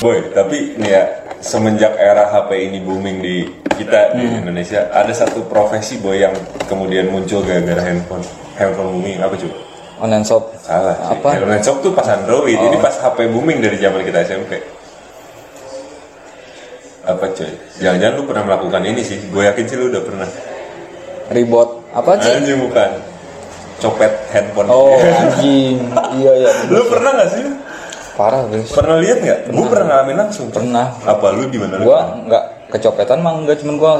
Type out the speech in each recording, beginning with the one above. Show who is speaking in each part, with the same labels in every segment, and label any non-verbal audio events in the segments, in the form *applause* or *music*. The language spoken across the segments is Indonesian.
Speaker 1: Boy, tapi nih ya semenjak era HP ini booming di kita di
Speaker 2: Hmm.
Speaker 1: Indonesia, ada satu profesi boy yang kemudian muncul gara-gara handphone handphone booming apa cuy?
Speaker 2: online shop
Speaker 1: Salah sih.
Speaker 2: Apa? Oh.
Speaker 1: Handphone shop tuh pas Android, ini pas HP booming dari zaman kita SMP. Apa cuy? Jangan-jangan lu pernah melakukan ini sih? Gue yakin sih lu udah pernah.
Speaker 2: ribot apa sih
Speaker 1: Anjing bukan? Copet handphone.
Speaker 2: oh anjing iya iya
Speaker 1: *laughs* Lu pernah gak sih?
Speaker 2: parah guys
Speaker 1: Pernah lihat nggak? Gue pernah ngalamin langsung.
Speaker 2: Pernah.
Speaker 1: Apa lu gimana? lu?
Speaker 2: gua nggak kecopetan mah nggak cuman gua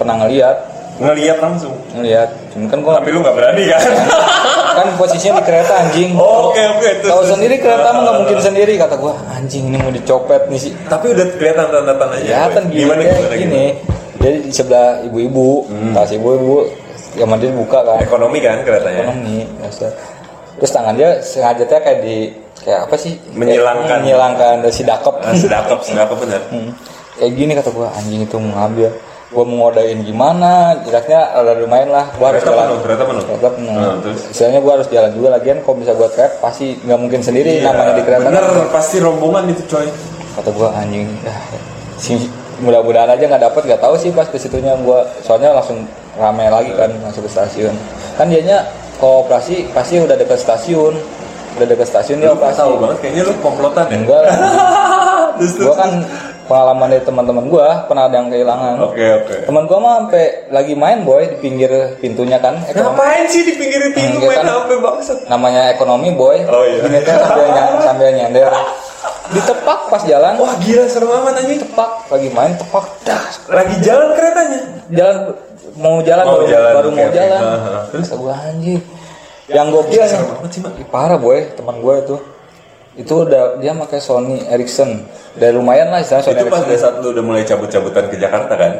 Speaker 2: pernah ngeliat
Speaker 1: ngeliat langsung.
Speaker 2: ngeliat cuman kan gua
Speaker 1: Tapi lu nggak berani kan? *laughs*
Speaker 2: kan posisinya di kereta anjing
Speaker 1: Oh, oke, oke. Terus,
Speaker 2: tahu
Speaker 1: terus.
Speaker 2: sendiri kereta mah nggak mungkin sendiri kata gua anjing ini mau dicopet nih sih
Speaker 1: Tapi udah kelihatan tanda-tandanya.
Speaker 2: kelihatan
Speaker 1: Boy.
Speaker 2: gini
Speaker 1: gimana
Speaker 2: ya,
Speaker 1: gimana, Hmm.
Speaker 2: gini
Speaker 1: gimana?
Speaker 2: jadi di sebelah ibu-ibu tas ibu-ibu yang mandiri buka kan
Speaker 1: Ekonomi kan keretanya.
Speaker 2: ekonomi maksudnya. terus tangan dia sengaja teh kayak di kayak apa sih
Speaker 1: Menyilangkan.
Speaker 2: Kayak menyilangkan dari si dakep
Speaker 1: Nah, sedakap, sedakap bener.
Speaker 2: Hmm. kayak gini kata gua anjing itu mau ngambil gua mau ngodain gimana jaraknya ada lumayan lah gua harus
Speaker 1: Kereta
Speaker 2: jalan
Speaker 1: penuh, kereta penuh.
Speaker 2: Kereta penuh.
Speaker 1: Hmm, terus?
Speaker 2: Istilahnya gua harus jalan juga lagian kalau bisa gua trek pasti nggak mungkin sendiri
Speaker 1: Iya,
Speaker 2: namanya di kereta
Speaker 1: Bener,
Speaker 2: kan.
Speaker 1: pasti rombongan itu coy.
Speaker 2: kata gua anjing ah, si mudah-mudahan aja nggak dapet nggak tahu sih pas ke situnya gua soalnya langsung rame lagi kan langsung ke stasiun kan dianya kooperasi pasti udah dekat stasiun udah dekat stasiun dia
Speaker 1: Lu nggak
Speaker 2: operasi
Speaker 1: tahu banget, kayaknya lu komplotan ya.
Speaker 2: enggak lah
Speaker 1: *laughs* Terus, terus.
Speaker 2: gua kan pengalaman dari teman-teman gua pernah ada yang kehilangan
Speaker 1: Oke, oke.
Speaker 2: teman gua mah sampai lagi main boy di pinggir pintunya kan ekonomi
Speaker 1: Ngapain sih di pinggir pintu
Speaker 2: Iya
Speaker 1: main
Speaker 2: kan?
Speaker 1: HP bangsat?
Speaker 2: namanya ekonomi boy
Speaker 1: Oh, iya.
Speaker 2: Pinggirnya sambil, ny- sambil nyender ditepak pas jalan
Speaker 1: Wah gila serem amat anjing.
Speaker 2: tepak lagi main tepak dah
Speaker 1: Lagi jalan keretanya.
Speaker 2: jalan mau jalan
Speaker 1: Mau
Speaker 2: baru,
Speaker 1: jalan,
Speaker 2: baru
Speaker 1: oke,
Speaker 2: mau
Speaker 1: oke.
Speaker 2: jalan
Speaker 1: Aha. Terus? Iya,
Speaker 2: terus gue anjir yang gokil
Speaker 1: Serem banget sih, Mak.
Speaker 2: Ih, parah boy teman gue itu itu udah dia pakai Sony Ericsson dari lumayan lah istilahnya Sony
Speaker 1: Itu pas
Speaker 2: Ericsson
Speaker 1: pada saat lu udah mulai cabut-cabutan ke Jakarta kan?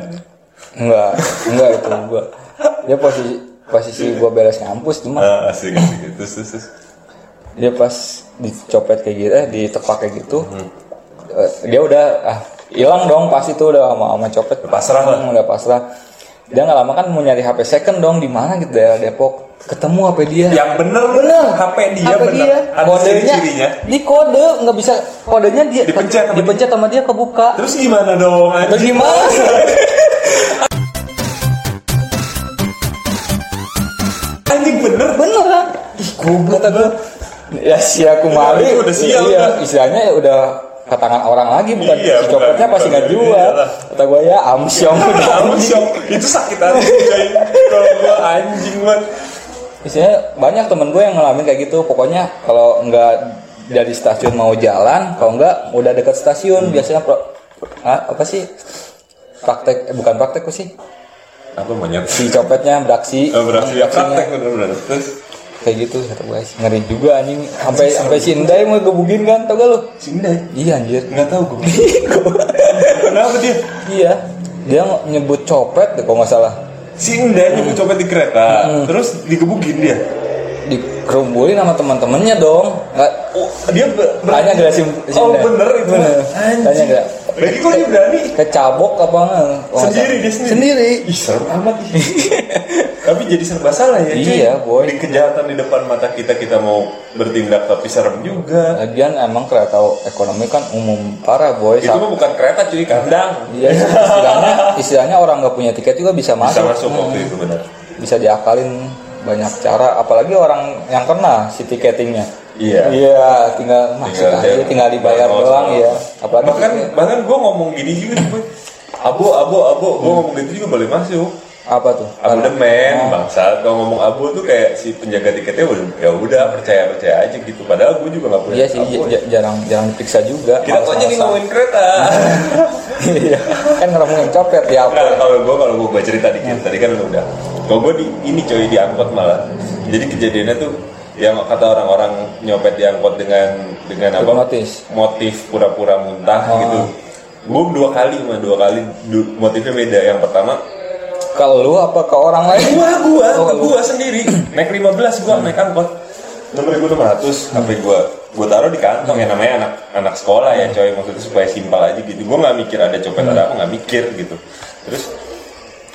Speaker 2: enggak enggak itu gua dia posisi posisi gue beres kampus cuma
Speaker 1: Ah, asik asik. Terus terus. terus.
Speaker 2: dia pas dicopet kayak gitu eh ditepak kayak gitu eh, dia udah ah, hilang dong pas itu udah sama sama copet
Speaker 1: Pasrah lah.
Speaker 2: Hmm, udah pasrah dia nggak lama kan mau nyari HP second dong di mana gitu daerah Depok ketemu HP dia
Speaker 1: Yang bener bener. HP Ya, dia
Speaker 2: HP
Speaker 1: bener.
Speaker 2: dia
Speaker 1: Ada
Speaker 2: kodenya
Speaker 1: ciri-cirinya.
Speaker 2: di kode nggak bisa kodenya dia
Speaker 1: Dipencet sama dia.
Speaker 2: dipencet sama dia kebuka
Speaker 1: Terus gimana dong?
Speaker 2: terus
Speaker 1: anjing? *laughs*
Speaker 2: gimana
Speaker 1: Anjing bener
Speaker 2: beneran kata gue ya si aku malu
Speaker 1: Iya, udah sial,
Speaker 2: iya
Speaker 1: udah.
Speaker 2: istilahnya udah ke tangan orang lagi bukan
Speaker 1: Iya,
Speaker 2: si copetnya
Speaker 1: bukan-
Speaker 2: pasti
Speaker 1: bukan
Speaker 2: nggak
Speaker 1: dari
Speaker 2: jual
Speaker 1: dia lah.
Speaker 2: kata gue ya
Speaker 1: *laughs*
Speaker 2: amsyong udah
Speaker 1: Kamu
Speaker 2: anjing.
Speaker 1: syok Itu sakit hati coy. Kalau gua anjing banget
Speaker 2: istilahnya banyak temen gue yang ngalamin kayak gitu pokoknya kalau nggak dari stasiun mau jalan kalau nggak udah dekat
Speaker 1: Hmm.
Speaker 2: stasiun biasanya pro- ah, apa sih praktek eh, bukan praktek apa sih
Speaker 1: Apa monyet?
Speaker 2: si copetnya beraksi
Speaker 1: Eh, Berarti ya
Speaker 2: beraksinya.
Speaker 1: praktek bener-bener Terus
Speaker 2: kayak gitu kata gue ngeri juga anjing sampai sampai si Indai mau gebugin kan tau gak lu
Speaker 1: Sindai
Speaker 2: iya anjir
Speaker 1: Nggak tahu gua *laughs* Kenapa dia?
Speaker 2: Iya, dia nge- nyebut copet deh kalau nggak salah.
Speaker 1: Si Indai
Speaker 2: Hmm.
Speaker 1: nyebut copet di kereta Terus digebukin dia
Speaker 2: Dikerumbulin sama teman-temannya dong. Nggak
Speaker 1: Oh, Dia ber-
Speaker 2: tanya
Speaker 1: berani
Speaker 2: gak si, si
Speaker 1: Oh
Speaker 2: Indra?
Speaker 1: bener itu
Speaker 2: Bener. Tanya
Speaker 1: Anjing
Speaker 2: gak?
Speaker 1: Lagi kok dia berani?
Speaker 2: Kecabok apa nggak? Kalau nggak
Speaker 1: Sendiri
Speaker 2: salah.
Speaker 1: dia sendiri
Speaker 2: Sendiri.
Speaker 1: Ih serem
Speaker 2: *laughs*
Speaker 1: amat ih. Tapi jadi serba salah ya cuy.
Speaker 2: Iya, boy.
Speaker 1: Di kejahatan di depan mata kita Kita mau bertindak tapi serem juga
Speaker 2: Lagian emang kereta ekonomi kan umum parah boy.
Speaker 1: Itu mah bukan kereta cuy, kandang.
Speaker 2: Iya, istilahnya, istilahnya orang nggak punya tiket juga bisa
Speaker 1: Bisa
Speaker 2: masuk.
Speaker 1: masuk waktu itu benar.
Speaker 2: Bisa diakalin banyak cara, apalagi orang yang kena si tiketingnya.
Speaker 1: Iya.
Speaker 2: Iya, tinggal masuk
Speaker 1: Tinggal
Speaker 2: aja,
Speaker 1: dia-
Speaker 2: tinggal dibayar
Speaker 1: Tinggal
Speaker 2: doang
Speaker 1: masuk.
Speaker 2: ya. Apalagi
Speaker 1: bahkan bahkan gue ngomong gini juga nih, Boy. Abo, abo, abo, gue
Speaker 2: Hmm.
Speaker 1: ngomong gitu juga boleh masuk.
Speaker 2: apa tuh?
Speaker 1: Abu
Speaker 2: Oh.
Speaker 1: demen, bangsa. Kalau ngomong abu tuh kayak si penjaga tiketnya udah, ya udah percaya percaya aja gitu. Padahal gue juga nggak punya.
Speaker 2: Iya sih
Speaker 1: abu.
Speaker 2: j- j- jarang jarang diperiksa juga.
Speaker 1: Kita kok jadi
Speaker 2: Males-malesan.
Speaker 1: ngomongin kereta.
Speaker 2: *laughs* Iya. kan ngomongin copet ya apa?
Speaker 1: Nah, kalau gue kalau gue cerita dikit tadi kan udah. Kalau gue di ini coy di angkot malah. Jadi kejadiannya tuh yang kata orang-orang nyopet di angkot dengan dengan apa?
Speaker 2: Hipnotis.
Speaker 1: Motif pura-pura muntah
Speaker 2: Oh.
Speaker 1: gitu. Gue dua kali mah dua kali du- motifnya beda. Yang pertama
Speaker 2: Kalau lu apa ke orang lain?
Speaker 1: gua gua
Speaker 2: Oh, lu.
Speaker 1: gua sendiri naik 15 gua naik angkot nomor 1600 HP gua gua taruh di kantong ya namanya anak anak sekolah ya coy maksudnya supaya simpel aja gitu gua nggak mikir ada copet ada apa nggak mikir gitu terus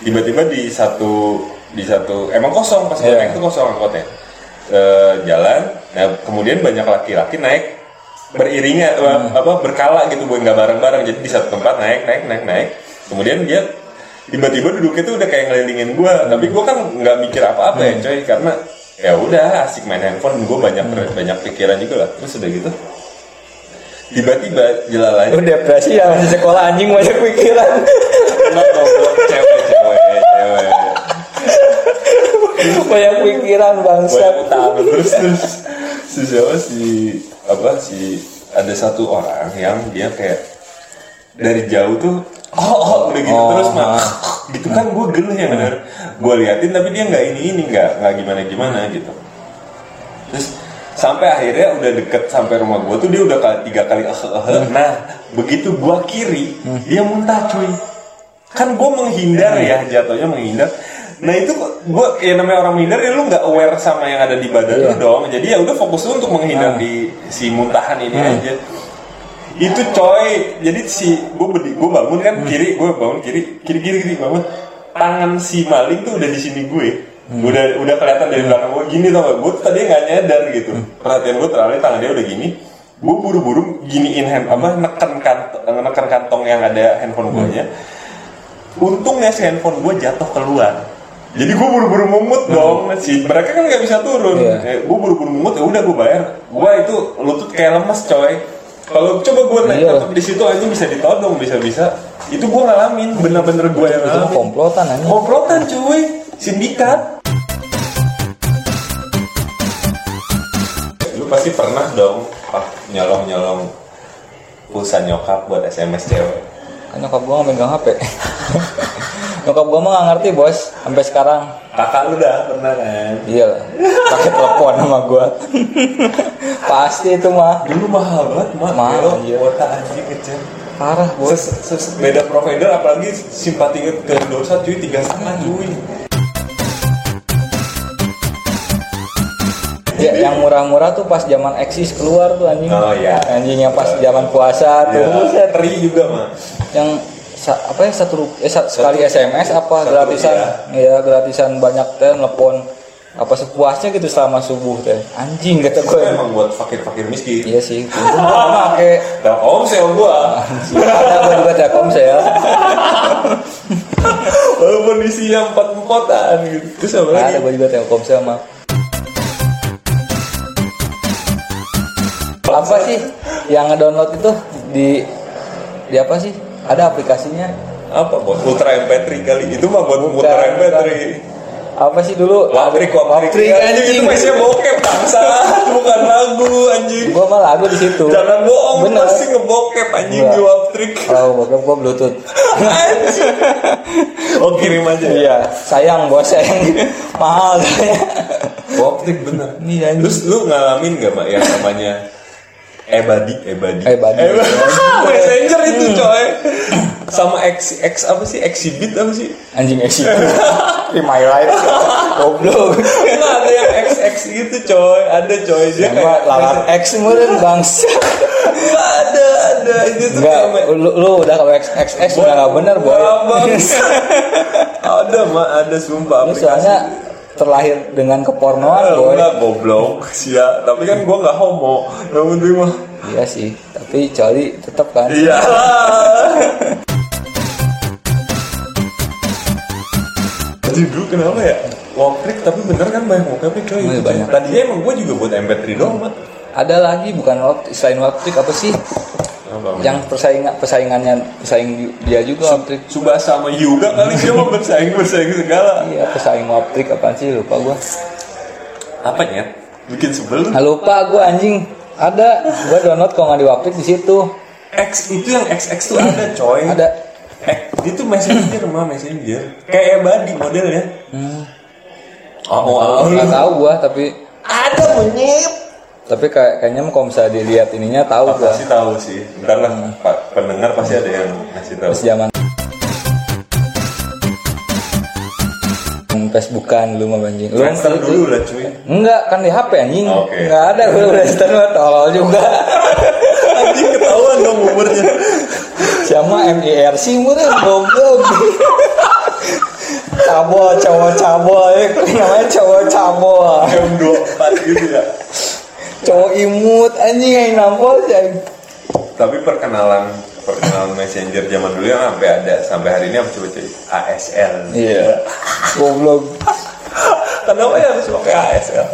Speaker 1: tiba-tiba di satu di satu emang kosong pas gua
Speaker 2: Iya.
Speaker 1: naik tuh kosong angkotnya Eh, jalan nah kemudian banyak laki-laki naik beriringan apa- apa berkala gitu buat nggak bareng-bareng jadi di satu tempat naik naik naik naik kemudian dia tiba-tiba duduknya tuh udah kayak ngelilingin gua tapi gua kan nggak mikir apa-apa ya coy karena ya udah asik main handphone gua banyak banyak pikiran juga lah terus udah gitu tiba-tiba jelalanya
Speaker 2: Lu depresi ya masih sekolah anjing banyak pikiran. *laughs*
Speaker 1: *laughs* Enggak, goblok. cewek cewek cewek
Speaker 2: banyak pikiran bangsat.
Speaker 1: Banyak utang. terus terus si siapa si apa si ada satu orang yang dia kayak dari jauh tuh oh, oh udah gitu
Speaker 2: Oh,
Speaker 1: terus mah
Speaker 2: ah.
Speaker 1: gitu kan gue geleh ya bener gue liatin tapi dia nggak ini ini nggak nggak gimana gimana gitu terus sampai akhirnya udah deket sampai rumah gue tuh dia udah kali- tiga kali "Eh, eh, eh."
Speaker 2: Hmm.
Speaker 1: nah begitu gua kiri dia muntah cuy kan gue menghindar ya
Speaker 2: Hmm.
Speaker 1: jatuhnya menghindar nah itu gue ya namanya orang menghindar ya lu nggak aware sama yang ada di badan lu dong jadi ya udah fokus lu untuk menghindar
Speaker 2: Iya. Nah.
Speaker 1: di si muntahan ini
Speaker 2: Hmm.
Speaker 1: aja itu coy jadi si gue bedi gue bangun kan kiri gue bangun kiri kiri kiri kiri bangun tangan si maling tuh udah di sini gue udah udah kelihatan dari belakang gue gini tau gak gue tadi nggak nyadar gitu perhatian gue terlalu tangan dia udah gini gue buru-buru giniin hand apa neken kantong neken kantong yang ada handphone gue nya untungnya si handphone gue jatuh keluar jadi gue buru-buru mungut dong si mereka kan nggak bisa turun
Speaker 2: Hmm.
Speaker 1: Eh,
Speaker 2: Iya.
Speaker 1: gue buru-buru mungut ya udah gue bayar gue itu lutut kayak lemes coy kalau coba gue naik
Speaker 2: Iya.
Speaker 1: tetep di situ aja bisa ditodong bisa-bisa itu gue ngalamin bener-bener gue yang
Speaker 2: Itu mah
Speaker 1: ngalamin
Speaker 2: komplotan anjing.
Speaker 1: komplotan cuy sindikat lu pasti pernah dong ah, nyolong-nyolong pulsa nyokap buat SMS cewek
Speaker 2: Kan nyokap gua nggak megang HP. *laughs* nyokap gua mah nggak ngerti bos sampai sekarang.
Speaker 1: kakak lu dah pernah kan
Speaker 2: Iya lah. Pakai telepon sama gua. *laughs* Pasti itu mah
Speaker 1: dulu mahal banget mah
Speaker 2: Mahal,
Speaker 1: Belok,
Speaker 2: iya.
Speaker 1: kuota anjing kecil
Speaker 2: parah bos.
Speaker 1: Ses- ses- beda provider apalagi simpatinya ke dosa cuy tiga setengah cuy
Speaker 2: Ya, yang murah-murah tuh pas zaman eksis keluar tuh anjing.
Speaker 1: Oh, iya.
Speaker 2: Anjing yang pas zaman puasa tuh.
Speaker 1: ya, teri juga mah
Speaker 2: Yang sa- apa ya satu rup- eh, sa- sekali SMS apa
Speaker 1: satu
Speaker 2: gratisan?
Speaker 1: rupiah.
Speaker 2: Iya, gratisan banyak teh telepon apa sepuasnya gitu selama subuh teh. Anjing kata
Speaker 1: itu
Speaker 2: gue.
Speaker 1: *laughs* emang buat fakir-fakir miskin
Speaker 2: ya? Iya sih. Gue pakai
Speaker 1: Telkomsel gua
Speaker 2: ada gua juga Telkomsel.
Speaker 1: walaupun isinya empat-empatan gitu terus apa lagi
Speaker 2: Ada gua juga Telkomsel mah. Apa sih yang ngedownload itu di di apa sih? Ada aplikasinya
Speaker 1: apa buat Ultra MP3 kali itu mah buat
Speaker 2: Bukan,
Speaker 1: Ultra MP3
Speaker 2: apa sih dulu
Speaker 1: Waprik, waprik,
Speaker 2: Waprik,
Speaker 1: anjing itu
Speaker 2: anjing.
Speaker 1: masih bokep bangsa bukan lagu anjing
Speaker 2: gua malah lagu di situ
Speaker 1: jangan bohong lu
Speaker 2: bener
Speaker 1: pasti ngebokep anjing
Speaker 2: Enggak.
Speaker 1: di waprik
Speaker 2: kalau bokep gua bluetooth
Speaker 1: anjing oh kirim aja ya
Speaker 2: iya sayang bos sayang mahal saya
Speaker 1: Waprik bener
Speaker 2: Iya, anjing.
Speaker 1: Terus lu ngalamin gak mak yang namanya Ebadi Ebadi
Speaker 2: Eh, Buddy.
Speaker 1: Messenger itu coy Sama X, X apa sih? Exhibit apa sih?
Speaker 2: anjing exit in my *laughs* life goblok
Speaker 1: Enggak ada yang XX gitu coy Ada coy Dia
Speaker 2: Gua
Speaker 1: kayak
Speaker 2: lawan Iya, X meren bangsa
Speaker 1: Enggak ada ada Itu tuh
Speaker 2: Enggak,
Speaker 1: kayak
Speaker 2: lu, lu udah kalau X X X udah gak bener boy
Speaker 1: Enggak, bangsa. *laughs* Ada mak ada sumpah
Speaker 2: *laughs* lu
Speaker 1: aplikasi.
Speaker 2: soalnya terlahir dengan kepornoan
Speaker 1: Ah,
Speaker 2: boy
Speaker 1: Enggak goblok Sia Tapi kan gua gak homo Yang penting mah
Speaker 2: iya sih tapi coli tetep kan
Speaker 1: Iya Jadi dulu kenapa ya? Waprik tapi bener kan banyak waprik coy
Speaker 2: Iya, banyak.
Speaker 1: Tadinya emang gue juga buat MP3 doang Mat.
Speaker 2: ada lagi bukan waktu selain waktu apa sih yang persaingan persaingannya persaing dia juga Waptrik
Speaker 1: Subasa sama Yuga kali dia mau bersaing-bersaing segala
Speaker 2: iya pesaing Waptrik apaan sih lupa gua
Speaker 1: Apa ya? Bikin sebel
Speaker 2: nah, lupa gua anjing ada gua download kalau nggak di Waptrik di situ
Speaker 1: X itu yang XX tuh Iya. ada coy
Speaker 2: ada
Speaker 1: Eh, itu messenger mah messenger Kayak Ebadi modelnya Hmm. Oh, oh, oh.
Speaker 2: nggak tahu gua tapi
Speaker 1: Ada monyet
Speaker 2: tapi kayak kayaknya kalau misalnya dilihat ininya tahu gua
Speaker 1: Pasti tahu sih. Ntar lah Pak pendengar pasti ada yang ngasih tahu.
Speaker 2: pas zaman Facebookan lu mah anjing lu
Speaker 1: Friendster dulu lah cuy.
Speaker 2: Enggak, kan di HP anjing.
Speaker 1: Oke.
Speaker 2: Enggak ada gue udah stand mah tolol juga.
Speaker 1: Anjing ketahuan dong umurnya.
Speaker 2: Sama MIRC murah goblok. Cabo, eh, cowok cabo, namanya cowok cabo.
Speaker 1: M24 gitu ya.
Speaker 2: cowok imut anjing yang nampol sih anjing.
Speaker 1: tapi perkenalan perkenalan messenger zaman dulu yang sampai ada sampai hari ini apa coba cuy ASL
Speaker 2: iya goblok
Speaker 1: kenapa ya harus pakai ASL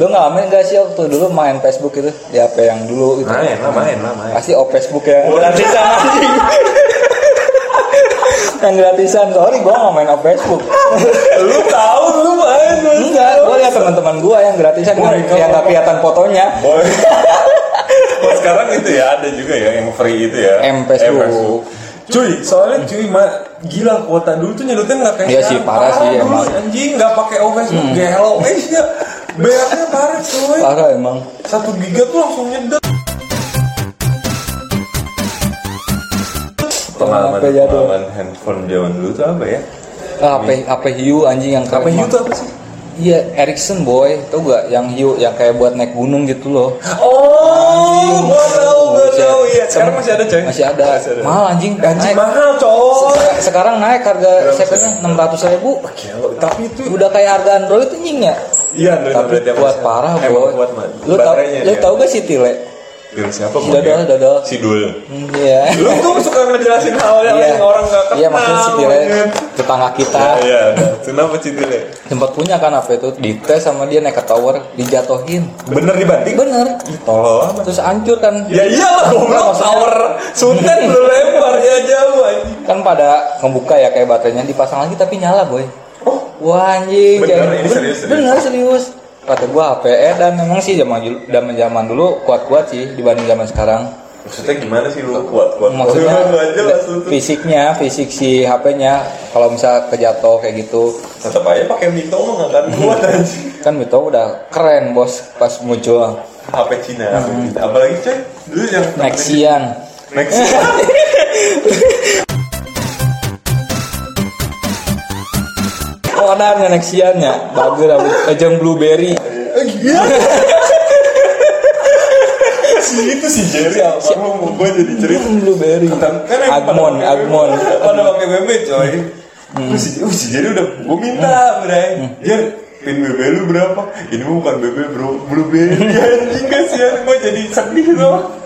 Speaker 2: lu ngalamin gak sih waktu dulu main Facebook itu di HP yang dulu gitu
Speaker 1: main lah main lah main
Speaker 2: pasti op Facebook ya
Speaker 1: Oh.
Speaker 2: gratisan anjing yang gratisan sorry gua nggak main op Facebook
Speaker 1: lu tahu lu main lu
Speaker 2: enggak gua liat teman-teman gua yang gratisan
Speaker 1: Oh,
Speaker 2: yang,
Speaker 1: iya.
Speaker 2: yang nggak kelihatan fotonya
Speaker 1: Oh, *laughs* oh, sekarang itu ya ada juga ya yang free itu ya.
Speaker 2: M Facebook.
Speaker 1: Cuy, soalnya cuy mah gila kuota dulu tuh nyelutnya nggak kayak
Speaker 2: Iya
Speaker 1: sekarang.
Speaker 2: sih, parah sih,
Speaker 1: dulu,
Speaker 2: emang. Hmm.
Speaker 1: Anjing nggak pakai O Facebook, gelo guys ya. Bayarnya parah cuy.
Speaker 2: parah emang
Speaker 1: Satu giga tuh langsung nyedet. Pengalaman,
Speaker 2: Apa ya, tuh?
Speaker 1: pengalaman handphone zaman dulu tuh apa ya?
Speaker 2: ah, HP HP Hiu anjing yang
Speaker 1: Apa
Speaker 2: keren
Speaker 1: itu
Speaker 2: banget.
Speaker 1: apa sih?
Speaker 2: Iya, Ericsson boy, tau gak yang hiu yang kayak buat naik gunung gitu loh.
Speaker 1: Oh, gua tahu, gua
Speaker 2: Masih-
Speaker 1: tahu. Iya, sekarang masih ada coy.
Speaker 2: Masih ada. Mahal anjing,
Speaker 1: Anjing
Speaker 2: naik.
Speaker 1: mahal coy.
Speaker 2: Se- Sekarang naik harga
Speaker 1: Berapa
Speaker 2: secondnya enam ratus ribu.
Speaker 1: Gila, tapi itu
Speaker 2: Udah kayak harga Android anjing ya.
Speaker 1: iya Android
Speaker 2: Tapi
Speaker 1: Android yang
Speaker 2: kuat
Speaker 1: masih-
Speaker 2: parah
Speaker 1: emang
Speaker 2: boy.
Speaker 1: kuat man
Speaker 2: Lu tau, lu tau gak sih Tile?
Speaker 1: siapa
Speaker 2: Si
Speaker 1: Mon, ya?
Speaker 2: Dadal, Dadal.
Speaker 1: si Dul
Speaker 2: Hmm, Iya.
Speaker 1: lu tuh suka ngejelasin hal yang
Speaker 2: Iya.
Speaker 1: orang nggak kenal
Speaker 2: Iya maksudnya si Tile
Speaker 1: kan?
Speaker 2: tetangga kita
Speaker 1: Ah, iya nah, kenapa si Dul ya?
Speaker 2: sempat punya kan apa itu dites sama dia naik ke tower dijatuhin.
Speaker 1: bener dibanting
Speaker 2: Bener.
Speaker 1: tolol amat
Speaker 2: Terus hancur kan
Speaker 1: ya iyalah goblok
Speaker 2: maksudnya-
Speaker 1: tower sunten lu lempar ya jauh anjing
Speaker 2: kan pada ngebuka ya kayak baterainya dipasang lagi tapi nyala boy
Speaker 1: Oh.
Speaker 2: wah anjing
Speaker 1: Bener, ini
Speaker 2: jangan-
Speaker 1: serius, serius.
Speaker 2: bener serius kata gua HPE dan memang sih zaman dulu zaman zaman dulu kuat kuat sih dibanding zaman sekarang
Speaker 1: maksudnya gimana sih lu kuat kuat
Speaker 2: maksudnya
Speaker 1: aja lah sunten
Speaker 2: fisiknya fisik si HP-nya kalau misal kejatuh kayak gitu
Speaker 1: tetap aja pakai mito mah nggak akan kuat *laughs* anjing
Speaker 2: kan itu udah keren bos pas muncul
Speaker 1: HP Cina HP Cina. apalagi coy dulu yang
Speaker 2: Nexian
Speaker 1: *laughs* Nexian
Speaker 2: oh ada yang Nexian ya bagus bagus ajang Blueberry
Speaker 1: Iya. si itu si Jerry apa lu mau gue jadi cerita
Speaker 2: Blueberry
Speaker 1: tentang kan emang pada
Speaker 2: Agmon
Speaker 1: pakai
Speaker 2: Agmon Hmm.
Speaker 1: BB, pada pakai BB coy Lu si, uh, si Jerry udah gue minta bray Jer pin BB lu berapa ini mah bukan BB bro
Speaker 2: *laughs*
Speaker 1: blueberry anjing kasihan gue jadi sedih loh *laughs*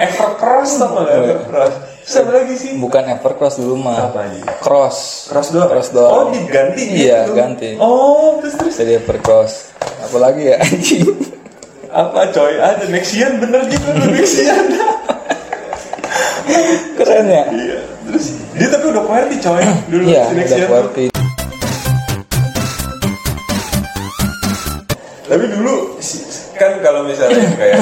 Speaker 1: Evercross
Speaker 2: Oh,
Speaker 1: sama
Speaker 2: iya.
Speaker 1: lah Evercross siapa lagi sih
Speaker 2: bukan Evercross dulu mah
Speaker 1: Apa aja?
Speaker 2: Cross
Speaker 1: Cross doang
Speaker 2: Cross doang
Speaker 1: oh diganti
Speaker 2: iya
Speaker 1: gitu.
Speaker 2: ganti
Speaker 1: oh terus terus
Speaker 2: jadi Evercross apalagi ya *laughs* anjing
Speaker 1: apa coy ada Nexian bener gitu ada Nexian
Speaker 2: keren ya
Speaker 1: iya terus dia tapi udah QWERTY coy dulu
Speaker 2: iya
Speaker 1: si
Speaker 2: udah
Speaker 1: Nexian tuh.
Speaker 2: kuarti
Speaker 1: tapi dulu si- kan kalau misalnya kayak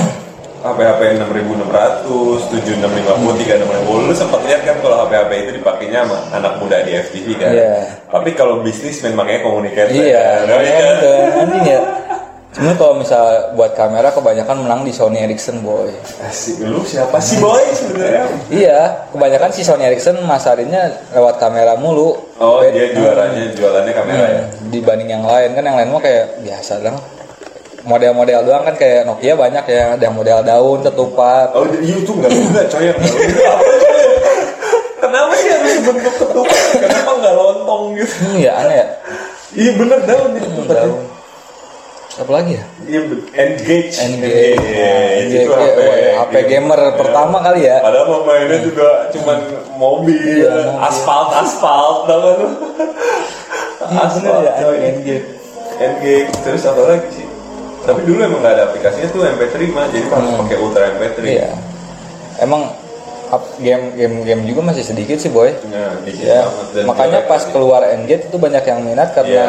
Speaker 1: HP-HP 6600, 7650, 3650 lu sempat lihat kan kalau HP-HP itu dipakainya sama anak muda di FTV kan
Speaker 2: Iya.
Speaker 1: tapi kalau bisnis memang makanya komunikator
Speaker 2: iya
Speaker 1: kan? Iya
Speaker 2: keren
Speaker 1: kan?
Speaker 2: tuh anjing ya cuma kalau misal buat kamera kebanyakan menang di Sony Ericsson boy
Speaker 1: Asik, lu siapa sih boy sebenarnya?
Speaker 2: iya kebanyakan si Sony Ericsson masarinnya lewat kamera mulu
Speaker 1: Oh
Speaker 2: Beda.
Speaker 1: dia juaranya jualannya kamera ya?
Speaker 2: Hmm, dibanding yang lain kan yang lain mah kayak biasa dong model-model doang kan kayak Nokia banyak ya ada yang model daun ketupat
Speaker 1: Oh, di YouTube nggak juga coy yang nggak bener. Apa coy? Kenapa sih harus bentuk ketupat? Kenapa nggak lontong gitu?
Speaker 2: hmm ya aneh ya
Speaker 1: Iya bener daun itu ketupat. ya.
Speaker 2: daun apa lagi ya
Speaker 1: Iya ben- engage.
Speaker 2: NBA,
Speaker 1: Iya,
Speaker 2: NBA,
Speaker 1: itu ya? Iya. HP,
Speaker 2: HP gamer pertama kali ya.
Speaker 1: Padahal mah mainnya juga cuman mobil,
Speaker 2: Iya, mobil.
Speaker 1: aspal, aspal, tau kan lu?
Speaker 2: Iya, bener
Speaker 1: Aspal,
Speaker 2: ya,
Speaker 1: coy.
Speaker 2: Endgame.
Speaker 1: Endgame. Terus apa lagi sih? Tapi dulu emang nggak ada aplikasinya tuh MP3 mah, jadi harus pakai Ultra MP3.
Speaker 2: Iya. Emang up- game game game juga masih sedikit sih boy.
Speaker 1: Nah, dikit
Speaker 2: Ya,
Speaker 1: amat dan
Speaker 2: makanya
Speaker 1: jelek
Speaker 2: pas
Speaker 1: lagi.
Speaker 2: keluar Endgate itu banyak yang minat karena
Speaker 1: Iya,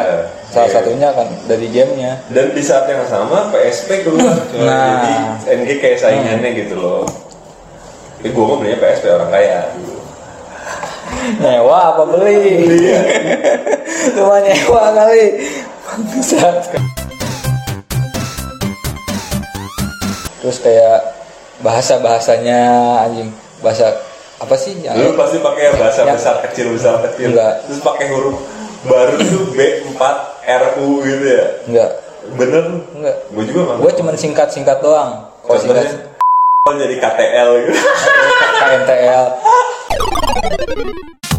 Speaker 2: salah
Speaker 1: iya.
Speaker 2: satunya kan dari gamenya.
Speaker 1: dan di saat yang sama PSP keluar coy.
Speaker 2: *laughs* Nah. Hmm.
Speaker 1: jadi NG kayak saingannya gitu loh tapi gue mau belinya PSP orang kaya
Speaker 2: Nyewa apa beli? *laughs* Cuma nyewa kali. Bangsat. Terus kayak bahasa bahasanya anjing bahasa apa sih? yang-
Speaker 1: lu pasti pakai yang bahasa
Speaker 2: Eh. Ya.
Speaker 1: besar kecil besar kecil
Speaker 2: Enggak.
Speaker 1: terus pakai huruf baru tuh B4 RU gitu ya
Speaker 2: Enggak,
Speaker 1: bener
Speaker 2: enggak.
Speaker 1: gue juga mah
Speaker 2: Gue cuman singkat-singkat doang. Kalau
Speaker 1: contohnya
Speaker 2: singkat
Speaker 1: *laughs* jadi KTL gitu
Speaker 2: KNTL.